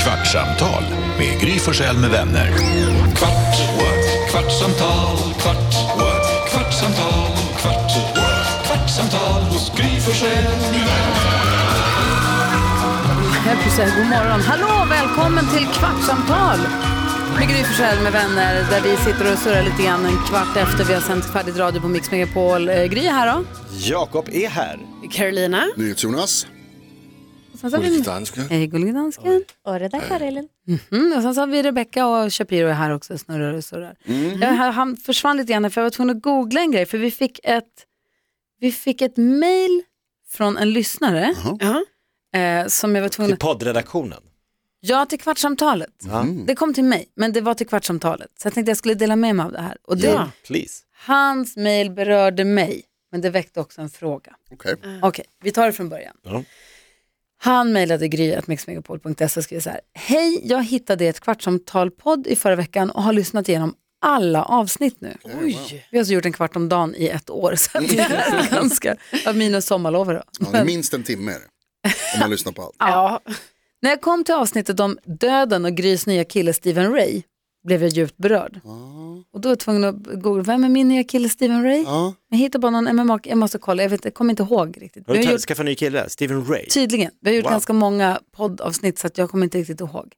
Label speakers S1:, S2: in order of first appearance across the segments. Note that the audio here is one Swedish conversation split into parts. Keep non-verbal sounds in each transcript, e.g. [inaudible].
S1: Kvartsamtal med Gry Forssell med vänner. Kvart, what? kvartsamtal, kvart, what? kvartsamtal, kvart, what? kvartsamtal hos Gry Forssell med vänner.
S2: Jag höll på att säga god morgon. Hallå, välkommen till Kvartsamtal med Gry Forssell med vänner där vi sitter och surrar lite grann en kvart efter vi har sänt färdigt radio på Mix Megapol. Eh, Gry är här då.
S3: Jakob är här.
S2: Carolina.
S4: NyhetsJonas.
S2: Mm. Sen så har vi... Hej, gullige dansken.
S5: Och det där Karilin.
S2: Mhm, och sen så har vi Rebecca och Shapiro är här också och snurrar och surrar. Jag, han- han försvann lite grann för jag var tvungen att googla en grej för vi fick ett, vi fick ett mail från en lyssnare eh, som jag var tvungen
S3: Till poddredaktionen.
S2: Ja, till Kvartsamtalet. Det kom till mig, men det var till Kvartsamtalet. Så jag tänkte jag skulle dela med mig av det här. Och det,
S3: Please.
S2: Hans mejl berörde mig, men det väckte också en fråga.
S4: Okej.
S2: Okej, vi tar det från början.
S3: Ja.
S2: Han mejlade gry.mixmegapol.se och skrev så här. Hej, jag hittade ett kvartsamtalpodd i förra veckan och har lyssnat igenom alla avsnitt nu. Oj. Vi har så gjort en kvart om dagen i ett år. Så att det är ganska, ja, minus sommarlover då.
S4: Ja, det är minst en timme är det. Om man lyssnar på allt.
S2: När jag kom till avsnittet om döden och Grys nya kille Steven Ray blev jag djupt berörd. Och då var jag tvungen att googla, vem är min nya kille Steven Ray?
S4: Ja.
S2: Jag hittar bara någon MMA, jag måste kolla, jag, vet, jag Typ. kommer inte ihåg riktigt.
S3: Har
S2: Vi
S3: du
S2: har
S3: tagit-
S2: gjort,
S3: skaffat en ny kille? Steven Ray?
S2: tydligen, vi har gjort
S3: Wow.
S2: ganska många poddavsnitt så att jag kommer inte riktigt ihåg.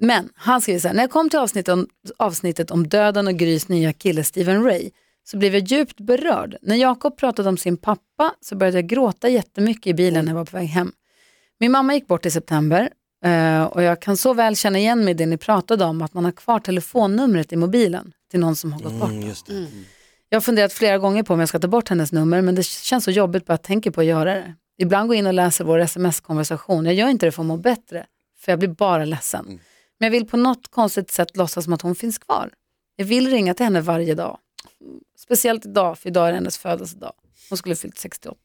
S2: Men han skriver så här, när jag kom till avsnittet om, avsnittet om döden och Grys nya kille Steven Ray så blev jag djupt berörd. När Jakob pratade om sin pappa så började jag gråta jättemycket i bilen när jag var på väg hem. Min mamma gick bort i september eh, och jag kan så väl känna igen mig i det ni pratade om, att man har kvar telefonnumret i mobilen till någon som har
S3: Mm,
S2: gått bort. Jag har funderat flera gånger på om jag ska ta bort hennes nummer, men det känns så jobbigt bara jag tänker på att göra det. Ibland går jag in och läser vår sms-konversation. Jag gör inte det för att må bättre, för jag blir bara ledsen. Men jag vill på något konstigt sätt låtsas som att hon finns kvar. Jag vill ringa till henne varje dag. Speciellt idag, för idag är hennes födelsedag. Hon skulle ha fyllt 68.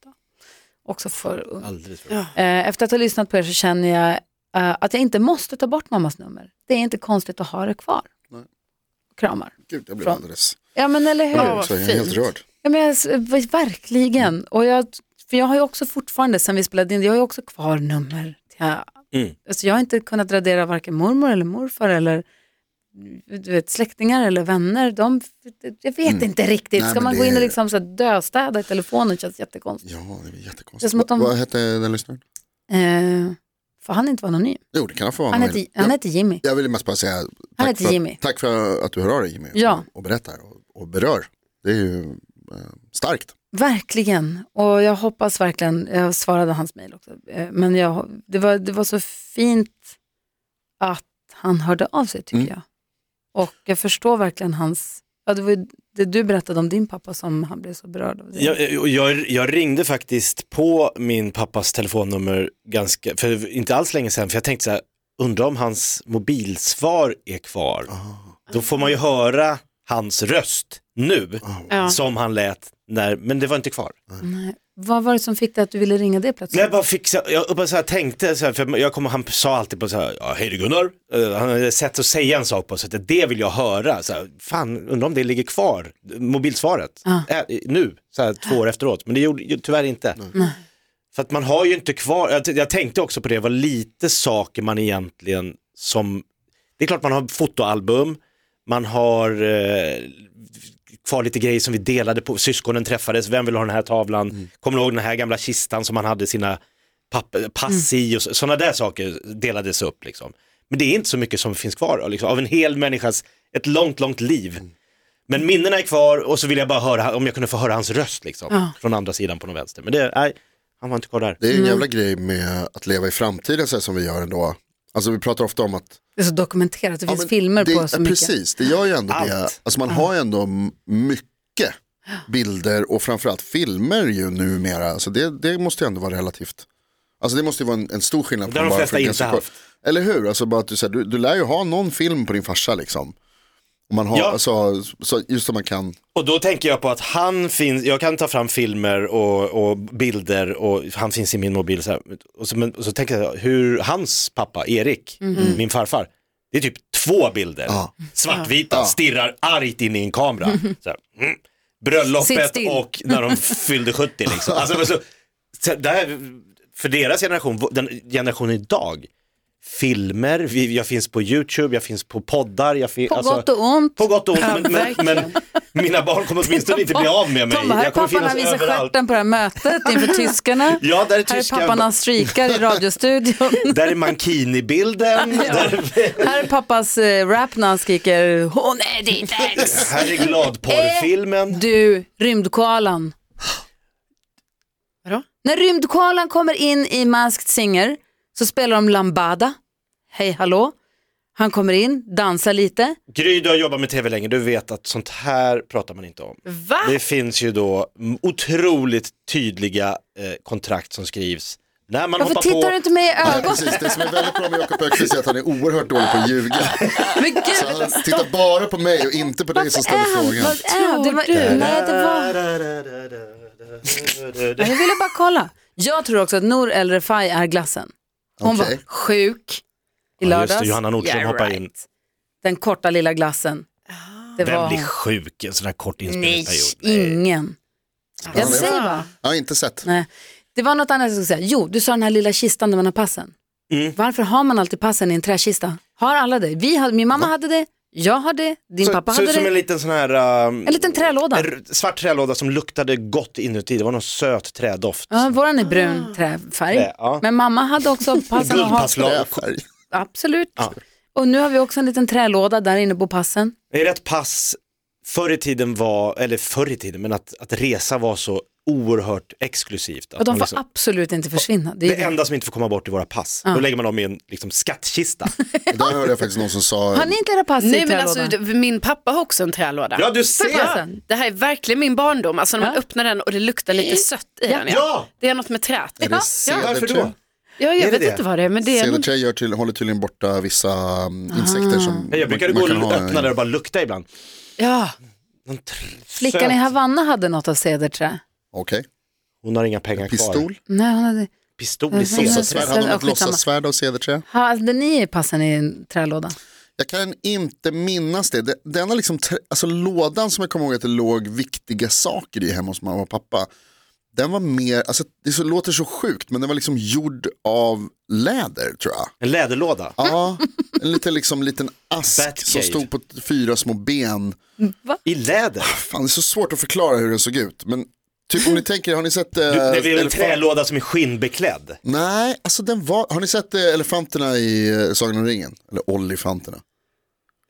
S2: Också för ung.
S3: Alldeles för
S2: Eh, Efter att ha lyssnat på er så känner jag eh, att jag inte måste ta bort mammas nummer. Det är inte konstigt att ha det kvar.
S4: Nej.
S2: Kramar.
S4: Gud, jag blev
S2: Från-
S4: alldeles...
S2: Ja men eller hur?
S4: Jag blev också- jag är helt rörd.
S2: Ja, men jag, verkligen. Och jag, för jag har ju också fortfarande, sen vi spelade in, jag har ju också kvar nummer. Till,
S3: Mm.
S2: alltså jag har inte kunnat radera varken mormor eller morfar eller du vet, släktingar eller vänner. De, jag vet inte riktigt.
S4: Mm. Nej,
S2: Ska
S4: men
S2: man
S4: det
S2: gå in och
S4: är-
S2: liksom så här döstäda i telefonen känns jättekonstigt.
S4: Ja, det är jättekonstigt.
S2: Det är som att de-
S4: Vad hette den lyssnaren?
S2: Eh, får han inte vara anonym?
S4: Jo, det kan han få vara.
S2: Han
S4: om
S2: heter,
S4: vill.
S2: han
S4: Ja.
S2: heter Jimmy.
S4: Jag ville mest bara säga tack,
S2: heter
S4: för,
S2: Jimmy.
S4: Att, tack för att du hör av dig Jimmy
S2: Ja.
S4: och, och berättar och, och berör. Det är ju eh, starkt.
S2: Verkligen, och jag hoppas verkligen, jag svarade hans mejl också, eh, men jag, det, var, det var så fint att han hörde av sig tycker
S4: Mm.
S2: jag. Och jag förstår verkligen hans, ja, det var ju det du berättade om din pappa som han blev så berörd av. Det.
S3: Jag, eh, jag, jag ringde faktiskt på min pappas telefonnummer ganska, för inte alls länge sedan, för jag tänkte så här, undrar om hans mobilsvar är kvar. Då får man ju höra hans röst nu, som han lät när, men det var inte kvar.
S2: Nej. Vad var det som fick dig att du ville ringa det plötsligt?
S3: Nej, jag bara, fick, så- jag bara så här tänkte, så här, för jag kommer, han sa alltid på så här, ja, hej det är Gunnar, Eh, han hade sett att säga en sak på, så att det vill jag höra, så här, fan undrar om det ligger kvar, mobilsvaret,
S2: Ja.
S3: Eh, nu, så här, två år efteråt, men det gjorde ju tyvärr inte. För att man har ju inte kvar, jag, t- jag tänkte också på det, vad lite saker man egentligen som, det är klart man har fotoalbum, man har eh, kvar lite grejer som vi delade på, syskonen träffades, vem vill ha den här tavlan, kommer du ihåg den här gamla kistan som man hade sina papper, pass i och sådana där saker delades upp liksom. Men det är inte så mycket som finns kvar liksom, av en hel människas, ett långt, långt liv. Men minnena är kvar och så vill jag bara höra, om jag kunde få höra hans röst liksom,
S2: Ja.
S3: från andra sidan på någon vänster. Men det, nej, han var inte kvar där.
S4: Det är en
S2: Mm.
S4: jävla grej med att leva i framtiden så här som vi gör ändå. Alltså vi pratar ofta om att
S2: Det är så dokumenterat, det
S4: Ja,
S2: finns
S4: men
S2: filmer
S4: det,
S2: på så
S4: ja,
S2: mycket.
S4: Precis, det gör ju ändå det.
S3: Allt.
S4: Alltså man har ju ändå m- mycket bilder och framförallt filmer ju numera. Alltså det, det måste ju ändå vara relativt. Alltså det måste ju vara en, en stor skillnad.
S3: Det har de
S4: bara
S3: flesta
S4: för
S3: inte
S4: ganska
S3: haft.
S4: kort- Eller hur, alltså bara att du, så här, du, du lär ju ha någon film på din farsa liksom. Och man har,
S3: Ja.
S4: alltså, så, just så man kan,
S3: Och då tänker jag på att han finns, jag kan ta fram filmer och, och bilder och han finns i min mobil. Så här. Och, så, men, och så tänker jag hur hans pappa, Erik,
S2: Mhm.
S3: min farfar, det är typ två bilder,
S4: Ja.
S3: svartvita,
S4: Ja.
S3: stirrar argt in i en kamera. Så här, mm. Bröllopet
S2: Mhm. Sitt still.
S3: och när de fyllde 70 liksom. Alltså, men så, så där, för deras generation, vår- den generationen idag, filmer, vi, jag finns på YouTube, jag finns på poddar. Jag alltså- fin,
S2: På gott och ont.
S3: På gott och ont,
S2: Ja,
S3: men, men, men
S2: verkligen.
S3: mina barn kommer åtminstone inte bli av med mig.
S2: Tom, här är
S3: jag kommer
S2: pappan
S3: finnas
S2: han visar
S3: överallt.
S2: stjärten på det här mötet inför tyskarna.
S3: Ja, där är
S2: här är
S3: tyska-
S2: pappan han streakar i
S3: [laughs]
S2: radiostudion.
S3: Där är mankini-bilden, där,
S2: här är pappas eh, rap när han skriker Hon är ditt ex.
S3: här är gladporrfilmen.
S2: Du, rymdkoalan. Vadå? När rymdkoalan kommer in i Masked Singer så spelar de Lambada. Hej hallå. Han kommer in, dansar lite.
S3: Gry, du har jobbat med tv länge, du vet att sånt här pratar man inte om.
S2: Va?
S3: Det finns ju då mm, otroligt tydliga eh, kontrakt som skrivs. När man
S2: Varför
S3: hoppar
S2: tittar
S3: på...
S2: du inte mig i
S4: Nej,
S2: ögonen?
S4: precis. Det som är väldigt bra med Jakob Öqvist är att han är oerhört dålig på att ljuga.
S2: Men gud,
S4: Så han
S2: [laughs]
S4: tittar bara på mig och inte på dig som ställer frågan.
S2: vad är det? Var, nej, det var... Ja, Jag ville bara kolla. Jag tror också att Nour El Refai är glassen. Hon
S4: Okej.
S2: var sjuk i
S3: Ja,
S2: lördags.
S3: just det, Johanna Nordström
S2: Yeah,
S3: hoppar
S2: right.
S3: in.
S2: Den korta lilla glassen. Det
S3: Vem
S2: var
S3: blir sjuk i en sån här kort
S2: Nej,
S3: inspelningsperiod?
S2: ingen. Jag
S4: det-
S2: säger bara.
S4: Jag har inte sett.
S2: Nej. Det var något annat jag skulle säga. Jo, du sa den här lilla kistan där man har passen.
S3: Mm.
S2: Varför har man alltid passen i en träkista? Har alla det? Vi hade, min mamma hade det, jag har det, din
S3: Så,
S2: pappa
S3: så,
S2: hade
S3: som
S2: det.
S3: en liten sån här... Um,
S2: En liten trälåda.
S3: en svart trälåda som luktade gott inuti, det var någon söt trädoft.
S2: Ja, våran är brun träfärg.
S3: Trä, ja.
S2: Men mamma hade [laughs] också passen. och har-
S3: Guldpasslag.
S4: Träfärg.
S2: Absolut.
S3: Ja.
S2: Och nu har vi också en liten trälåda där inne på passen.
S3: Det är rätt pass, förr i tiden var, eller förr i tiden, men att, att resa var så oerhört exklusivt. Att
S2: Och de
S3: man
S2: får
S3: liksom-
S2: absolut inte försvinna. Det är ju
S3: Det enda som inte får komma bort i våra pass, då lägger man dem i en
S2: [laughs]
S3: liksom, skattkista.
S4: Det Där hörde jag faktiskt någon som sa,
S2: Har ni inte era pass i
S5: Nej men
S2: trälådan?
S5: alltså, d- min pappa har också en trälåda.
S3: Ja du ser!
S5: Ja, det här är verkligen min barndom, alltså när man
S2: Ja.
S5: öppnar den och det luktar lite sött i den.
S3: Ja.
S5: Det är något med träet.
S4: är det
S3: Varför då?
S4: cederträ?
S5: Ja,
S3: Är det
S5: jag vet
S3: det?
S5: inte vad det är, men det är
S4: Cederträ gör till, håller tydligen borta vissa um, insekter som
S3: Nej, Ah. Jag brukade gå och
S4: ha.
S3: öppna där och bara lukta ibland.
S5: ja.
S3: Någon tr-
S2: Flickan
S3: söt-
S2: i Havanna hade något av cederträ.
S4: Okej,
S3: Hon har inga pengar kvar.
S4: pistol.
S2: Nej, hon hade...
S3: Pistol
S2: Mm,
S3: i
S4: Låtsassvärd,
S3: cederträ.
S4: hade de
S2: Ja,
S4: ett
S2: skitsamma.
S4: låtsassvärd av cederträ?
S2: Ha, hade ni passen i en trälåda?
S4: Jag kan inte minnas det. Det- Den har liksom, tre- alltså lådan som jag kommer ihåg att det låg viktiga saker i hemma hos mamma och pappa. Den var mer, alltså det så, låter så sjukt men den var liksom gjord av läder tror jag.
S3: En läderlåda.
S4: Ja, en liten, liksom, liten ask
S3: Batcave.
S4: som stod på t- fyra små ben.
S3: I läder.
S4: Fan det är så svårt att förklara hur den såg ut. Men
S3: [laughs]
S4: typ om ni tänker, har ni sett? eh,
S3: Du, det är väl en
S4: elefant-
S3: trälåda som är skinnbeklädd.
S4: Nej, alltså den var, har ni sett eh, elefanterna i eh, Sagan om ringen? Eller olifanterna?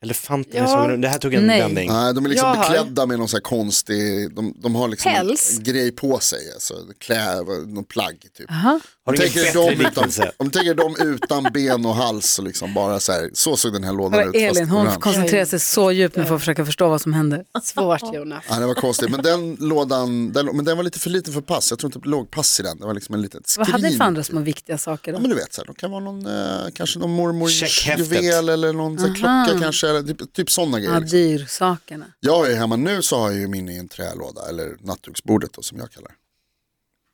S3: Elefanten
S5: Ja.
S3: i Sagan om- Det här tog en
S2: Nej.
S3: vändning.
S4: Nej, de är liksom
S5: Jag har-
S4: beklädda med någon så här konstig, de, de har liksom
S2: Päls?
S4: en grej på sig, alltså, klä, någon plagg typ.
S3: Har du ingen
S4: Tänker
S3: bättre
S4: de utan,
S3: liknelse?
S4: om tänker de utan ben och hals och liksom bara så här, så såg den här lådan ut. fast
S2: Elin, hon
S4: orange.
S2: koncentrerar sig så djupt nu för att försöka förstå vad som händer.
S5: svårt Jonas.
S4: Ja, det var konstigt, men den lådan, den, men den var lite för liten för pass, jag tror inte det låg pass i den, det var liksom en litet skrin.
S2: Vad hade ni för andra små viktiga saker
S4: Ja,
S2: då?
S4: men du vet, så här, de kan vara någon, eh, kanske någon mormors
S3: Checkhäftet.
S4: juvel eller någon så här, klocka kanske, eller typ, typ sådana grejer.
S2: Ja,
S4: liksom.
S2: dyrsakerna.
S4: Jag är hemma nu så har jag ju min i en trälåda, eller nattduksbordet då, som jag kallar det.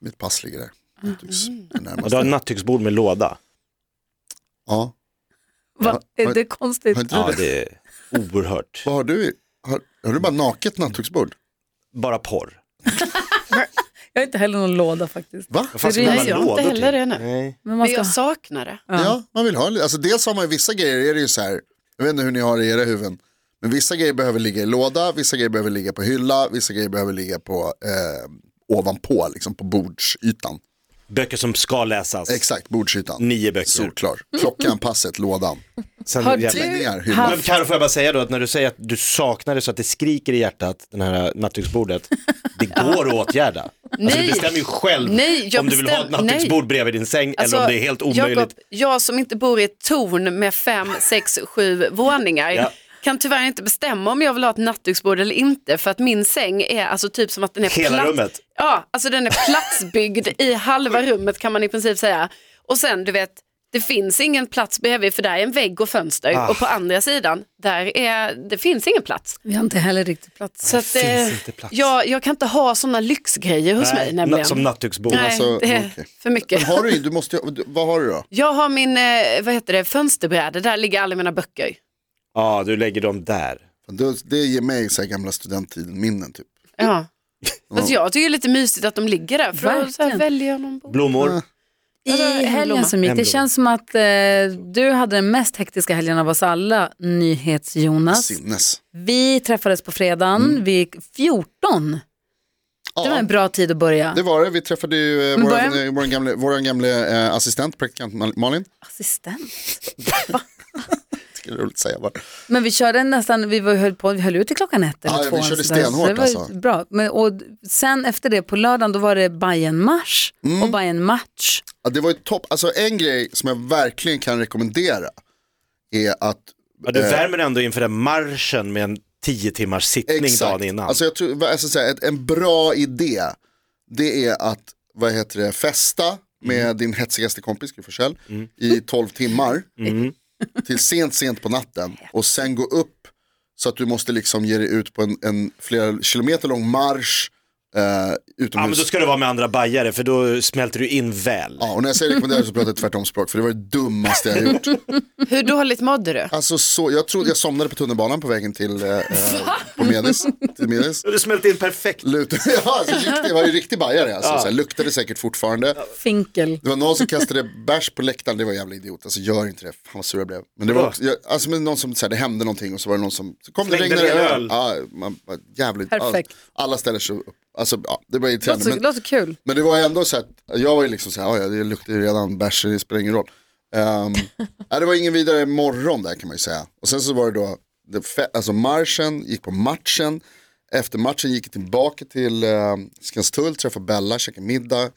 S4: Mitt pass ligger där. Nattduks, är
S3: Ja,
S4: närmast.
S3: Du har ett nattduksbord med låda.
S4: Ja.
S2: Va? Är det konstigt?
S4: Har inte du
S3: Ja,
S4: det?
S3: det är oerhört.
S4: Vad har du? i- Har, har du bara naket nattduksbord?
S3: Bara porr.
S2: Jag har inte heller någon låda faktiskt.
S4: Va?
S3: Vad fan ska
S2: Det
S3: man
S2: är
S3: ha
S5: jag inte
S3: lådor
S5: heller
S3: till?
S5: det nu.
S3: Nej.
S2: Men man
S5: Men
S2: ska...
S5: jag saknar det.
S4: Ja. man vill ha lite. Alltså dels har man ju vissa grejer, är det ju så här, jag vet inte hur ni har det i era huvuden, men vissa grejer behöver ligga i låda, vissa grejer behöver ligga på hylla, vissa grejer behöver ligga på eh, ovanpå, liksom på bordsytan.
S3: Böcker som ska läsas.
S4: Exakt, bordsytan.
S3: Nio böcker.
S4: Solklar. Klockan, passet, lådan.
S3: Sen
S2: Har
S3: jävla-
S2: du
S4: Klänningar, hyllor.
S3: Men Karo, får jag bara säga då att när du säger att du saknar det så att det skriker i hjärtat, den här
S5: [laughs]
S3: nattduksbordet, det går att åtgärda. Alltså, du
S5: Nej.
S3: bestämmer ju själv
S5: Nej, jag
S3: om du vill ha ett
S5: bestäm- nej. Alltså,
S3: nattduksbord bredvid din säng eller om det är helt omöjligt.
S5: Jakob, jag som inte bor i ett torn med fem, sex, sju våningar
S3: Ja.
S5: kan tyvärr inte bestämma om jag vill ha ett nattduksbord eller inte för att min säng är alltså typ som att den är
S3: Hela rummet?
S5: Ja, alltså den är platsbyggd i halva rummet kan man i princip säga. Och sen du vet, det finns ingen plats bredvid för där är en vägg och fönster
S3: Ah.
S5: och på andra sidan, där är, det finns ingen plats.
S2: Vi har inte heller riktigt plats.
S5: Så att,
S3: finns
S5: eh,
S3: inte plats.
S5: Jag, jag kan inte ha sådana lyxgrejer hos mig nämligen.
S3: na- som nattduksbord.
S5: Nej,
S4: Alltså,
S5: det är
S4: okej.
S5: för mycket.
S4: Har du, du måste, ju- du- vad har du då?
S5: Jag har min, eh, vad heter det, fönsterbräde, där ligger alla mina böcker.
S3: Ja, du lägger dem där.
S4: Det, det ger mig så här gamla studenttiden-minnen typ.
S5: Mm. [laughs] Alltså, Ja. Fast jag tycker det är lite mysigt att de ligger där, för då så
S2: Verkligen.
S5: här väljer jag någon bok.
S3: Blommor,
S2: I helgen som gick, det
S3: Hemblomma.
S2: känns som att eh, du hade den mest hektiska helgen av oss alla, NyhetsJonas.
S4: Sinnes.
S2: Vi träffades på fredagen
S4: Mm.
S2: vid 14. Det var
S4: Ja,
S2: en bra tid att börja.
S4: det var det. Vi träffade ju eh,
S2: Men
S4: vår,
S2: börja-
S4: eh, vår gamle, vår gamle eh, assistent, praktikant Mal- Malin.
S2: Assistent.
S4: Det är roligt att säga bara.
S2: Men vi körde nästan, vi var, höll på, vi höll ut till klockan ett eller
S4: Ja,
S2: två.
S4: vi körde
S2: sådär, så
S4: stenhårt
S2: det var ju
S4: alltså.
S2: Bra. Men, och sen efter det på lördagen då var det Bayern marsch
S4: Mm.
S2: och Bayern match.
S4: Ja, det var ju topp. Alltså en grej som jag verkligen kan rekommendera är att
S3: Ja, du
S4: Eh.
S3: värmer ändå inför den marschen med en tio timmars sittning dagen innan.
S4: Alltså jag tror, vad jag ska säga, ett, en bra idé det är att, vad heter det, festa med
S3: Mm.
S4: din hetsigaste kompis, Gry Forssell, i 12 timmar.
S3: Mm.
S4: Till sent, sent på natten. Och sen gå upp så att du måste liksom ge dig ut på en, en flera kilometer lång marsch eh,
S3: ja, men
S4: utomhus.
S3: då ska du vara med andra bajare för då smälter du in väl.
S4: Ja, och när jag säger rekommenderar så pratar jag tvärtom språk, för det var det dummaste jag gjort.
S5: Hur dåligt mådde du?
S4: Alltså så, jag trodde jag somnade på tunnelbanan på vägen till, eh, eh, på Medis, till Medis.
S3: Du smälter in
S5: [laughs]
S3: perfekt.
S4: Lutar, [laughs] ja, alltså, riktig, var ju riktig bajare alltså, så här, luktade säkert fortfarande.
S2: Finkel.
S4: Det var någon som kastade bärs på läktaren, det var en jävla idiot. Alltså gör inte det, fan vad sur jag blev. Men det var också, jag, alltså men någon som, så här, det hände någonting och så var det någon som, så kom det
S3: Slängde
S4: regnade
S3: ner
S4: öl.
S3: öl.
S4: Ja, man, bara, jävligt,
S2: Perfekt.
S4: Alla, alla ställer sig upp. Alltså ja, det var
S2: Låter
S4: irriterande.
S2: så,
S4: Men,
S2: låter kul.
S4: men det var ändå så här, att jag var ju liksom så här, "Ja, ja, det luktar ju redan bärs, så det spelar ingen roll. Ehm, nej, det var ingen vidare morgon där kan man ju säga. Och sen så var det då, det fe- alltså marschen, gick på matchen. Efter matchen gick jag tillbaka till eh, Skanstull, träffade Bella, käkade middag.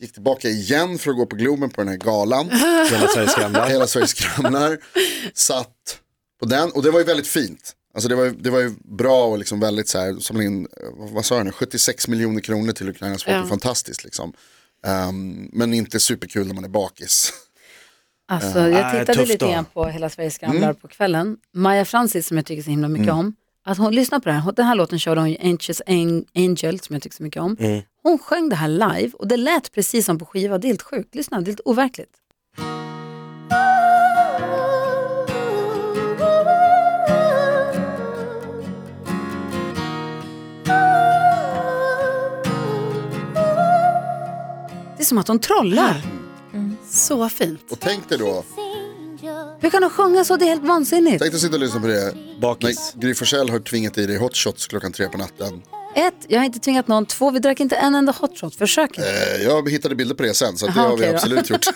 S4: Gick tillbaka igen för att gå på Globen på den här galan.
S3: Hela Sveriges gamla.
S4: Hela Sveriges grannar. Satt på den och det var ju väldigt fint. Alltså det var, ju- det var ju bra och liksom väldigt så här, samlade in, eh, vad- vad sa jag nu, 76 miljoner kronor till Ukrainas folk,
S5: Ja.
S4: Det är fantastiskt liksom. Ehm, men inte superkul när man är bakis.
S2: Alltså,
S3: äh,
S2: jag tittade
S3: tufft
S2: lite
S3: då. Mm.
S2: grann på Hela Sveriges gamlar på kvällen. Maja Francis som jag tycker så himla mycket om. Att hon, lyssna på det här, den här låten körde hon ju, Anxious An- Angel, som jag tycker så mycket om.
S3: Mm.
S2: Hon sjöng det här live och det lät precis som på skiva, det är helt sjukt. Lyssna, det är helt overkligt. Det är som att hon trollar.
S5: Så fint.
S4: Och tänk dig då,
S2: Hur kan de sjunga så? Det är helt vansinnigt.
S4: tänk dig att sitta och lyssna på det
S3: Bakis.
S4: när Gry Forssell har tvingat i dig hot shots klockan tre på natten.
S2: Ett, jag har inte tvingat någon. Två, vi drack inte en enda hot shot. Försök inte.
S4: Eh, jag hittade bilder på det sen, så att det
S2: Aha,
S4: har vi
S2: okej då. [laughs]
S4: absolut gjort.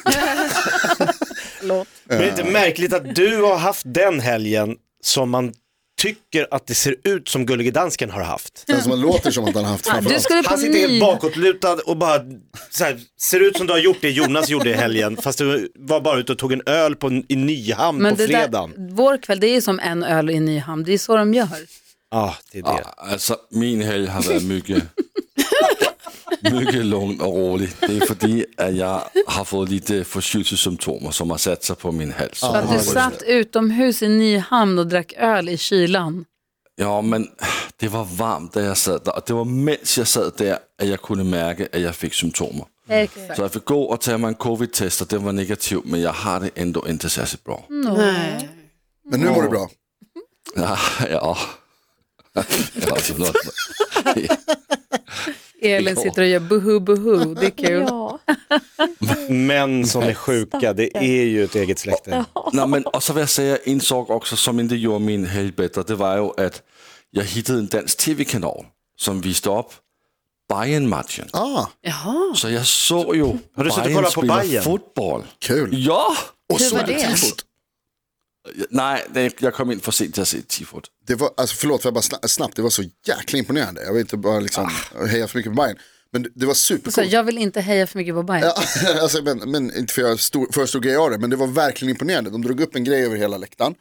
S3: Men det är inte märkligt att du har haft den helgen som man tycker att det ser ut som Gullige Dansken har haft.
S4: Den som man låter som att han har haft framför
S2: Du
S4: oss.
S2: skulle på
S3: Han sitter helt
S2: ny...
S3: bakåtlutad och bara så här, ser ut som du har gjort det Jonas gjorde i helgen fast du var bara ute och tog en öl på, i Nyhamn
S2: Men
S3: på
S2: det
S3: fredagen.
S2: där, vår kväll, det är ju som en öl i en ny hamn. Det är ju så de gör.
S3: Ja, det är det.
S6: Ja, altså, min helg har været mygge, mygge lugn og rolig. Det er fordi, at jeg har fået lidt forkylelsessymptomer, som har sat sig på min hals.
S2: Så att du satt utomhus i Nyhamn och drack öl i kylan.
S6: Ja, men det var varmt, da jeg sad der, og det var mens jeg sad der, at jeg kunne mærke, at jeg fik symptomer.
S2: Exakt.
S6: Så jeg fik gå og tage mig en covid-test, og den var negativ, men jeg har det endnu ikke særligt bra.
S2: Mm.
S5: Nej.
S4: Men nu mår du bra.
S6: [laughs] Ja, ja. ja det er noget.
S2: Elin sitter och gör buhu buhu. Det är kul.
S7: Ja.
S3: Män som är sjuka, det är ju ett eget släkte.
S6: Nå, men, og så vil jeg sige, at jeg indså også, som ikke gjorde min helg bedre, det var jo, at jeg hittede en dansk tv-kanal, som viste op Bayern Matchen.
S4: Ah,
S5: Jaha.
S6: Så jeg så jo
S3: Har du siddet og
S6: Bayern
S3: koldet på
S6: spiller
S3: Bayern?
S6: fodbold.
S4: kul.
S6: Ja!
S4: Och så
S2: var det?
S4: tifot.
S6: Nej, det- jeg kom ind for sent til at se Tifot.
S4: Det var, alltså förlåt för jag bara sna- snabbt, det var så jäkla imponerande. Jag vill inte bara liksom heja för mycket på Bayern. Men det var
S2: Så
S4: supercoolt.
S2: Ah. Alltså, jag vill inte heja för mycket på Bayern.
S4: Ja, [laughs] alltså, men, men inte för jag stor, för stor grej av det, men det var verkligen imponerande. De drog upp en grej över hela läktaren.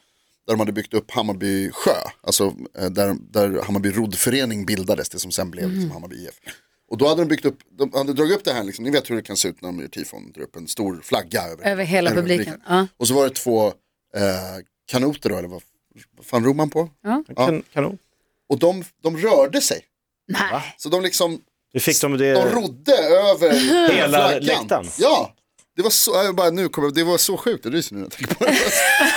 S4: Där de hade byggt upp Hammarby sjö, alltså eh, där, där Hammarby roddförening bildades, det som sen
S2: Mm.
S4: blev liksom, Hammarby IF. Och då hade de byggt upp, de hade dragit upp det här, liksom, ni vet hur det kan se ut när de gör tifon, drar upp en stor flagga över,
S2: Över hela publiken. Ja.
S4: Och så var det två eh, kanoter då, eller vad, vad fan ror man på?
S3: Kan, kanon.
S4: Och de, de rörde sig.
S2: Nej.
S4: Så de liksom,
S3: Du fick dem
S4: de
S3: det.
S4: rodde över
S3: Eh, [laughs] Hela
S4: flaggan.
S3: läktaren.
S4: Ja, Det var så, jag bara, nu kommer, jag- det var så sjukt, jag ryser nu när jag tänker på det.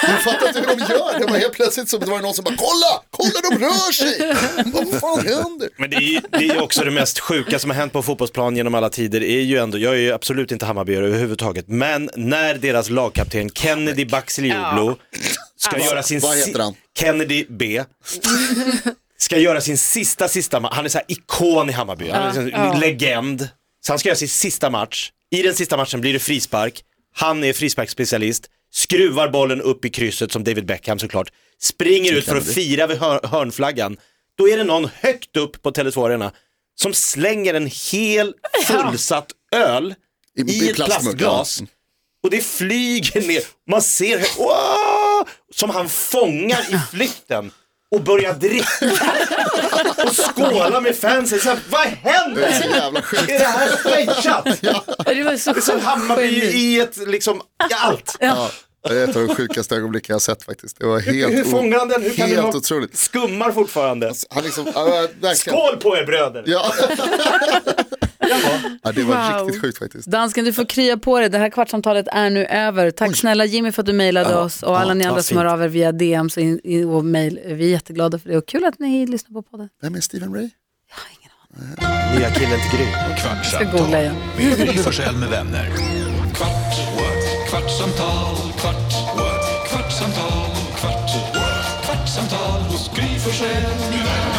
S4: Du fattar inte hur de gör, det var helt plötsligt som det var någon som bara, kolla, kolla de rör sig, [laughs] vad fan händer?
S3: Men det är, ju, det är ju också det mest sjuka som har hänt på en fotbollsplan genom alla tider. Är ju ändå, jag är ju absolut inte Hammarbyare överhuvudtaget, men när deras lagkapten Kennedy Bakircioglu ska göra sin...
S4: Vad
S3: si-
S4: heter han?
S3: Kennedy B. Ska göra sin sista, sista match. Han är så här ikon i Hammarby, han är liksom en legend. Så han ska göra sin sista match. I den sista matchen blir det frispark. Han är frisparksspecialist, skruvar bollen upp i krysset som David Beckham såklart, springer ut för att fira vid hör- hörnflaggan. Då är det någon högt upp på Tele2 Arena som slänger en hel fullsatt öl
S4: I-
S3: i
S4: i
S3: ett
S4: plastmugg, ja.
S3: plastglas. Och det flyger ner, man ser hur- Wow! som han fångar i flykten och börjar dricka [laughs] och skåla med fansen. Så här, vad
S4: Det är
S3: händer?
S4: så jävla sjukt.
S3: Är det här
S4: [laughs]
S3: stageat?
S2: Det var så
S3: Det är som
S2: sjukt
S3: Hammarby
S2: geni.
S3: i ett, liksom, i allt.
S4: Ja, det är ett av de sjukaste ögonblick jag har sett faktiskt. Det var helt,
S3: Hur
S4: o-
S3: fångar han den? Hur kan
S4: helt
S3: den ha-
S4: otroligt.
S3: Skummar fortfarande.
S4: Han liksom, ja, verkligen.
S3: Skål på er bröder!
S4: Ja. ja, det var
S2: Wow.
S4: riktigt sjukt faktiskt.
S2: Dansken, du får krya på dig. Det här kvartsamtalet är nu över. Tack snälla Jimmy för att du mejlade oss och alla ni andra som hör av er via DMs och, in, in, och mail. Vi är jätteglada för det och kul att ni lyssnar på podden.
S4: Vem är Stephen Ray?
S3: Nya killen till Gry.
S2: googla
S1: Kvartsamtal
S2: igen.
S1: med Gry Forssell med vänner. Kvart, what? kvartsamtal, kvart, what? kvartsamtal, kvart, what? kvartsamtal hos Gry Forssell med vänner.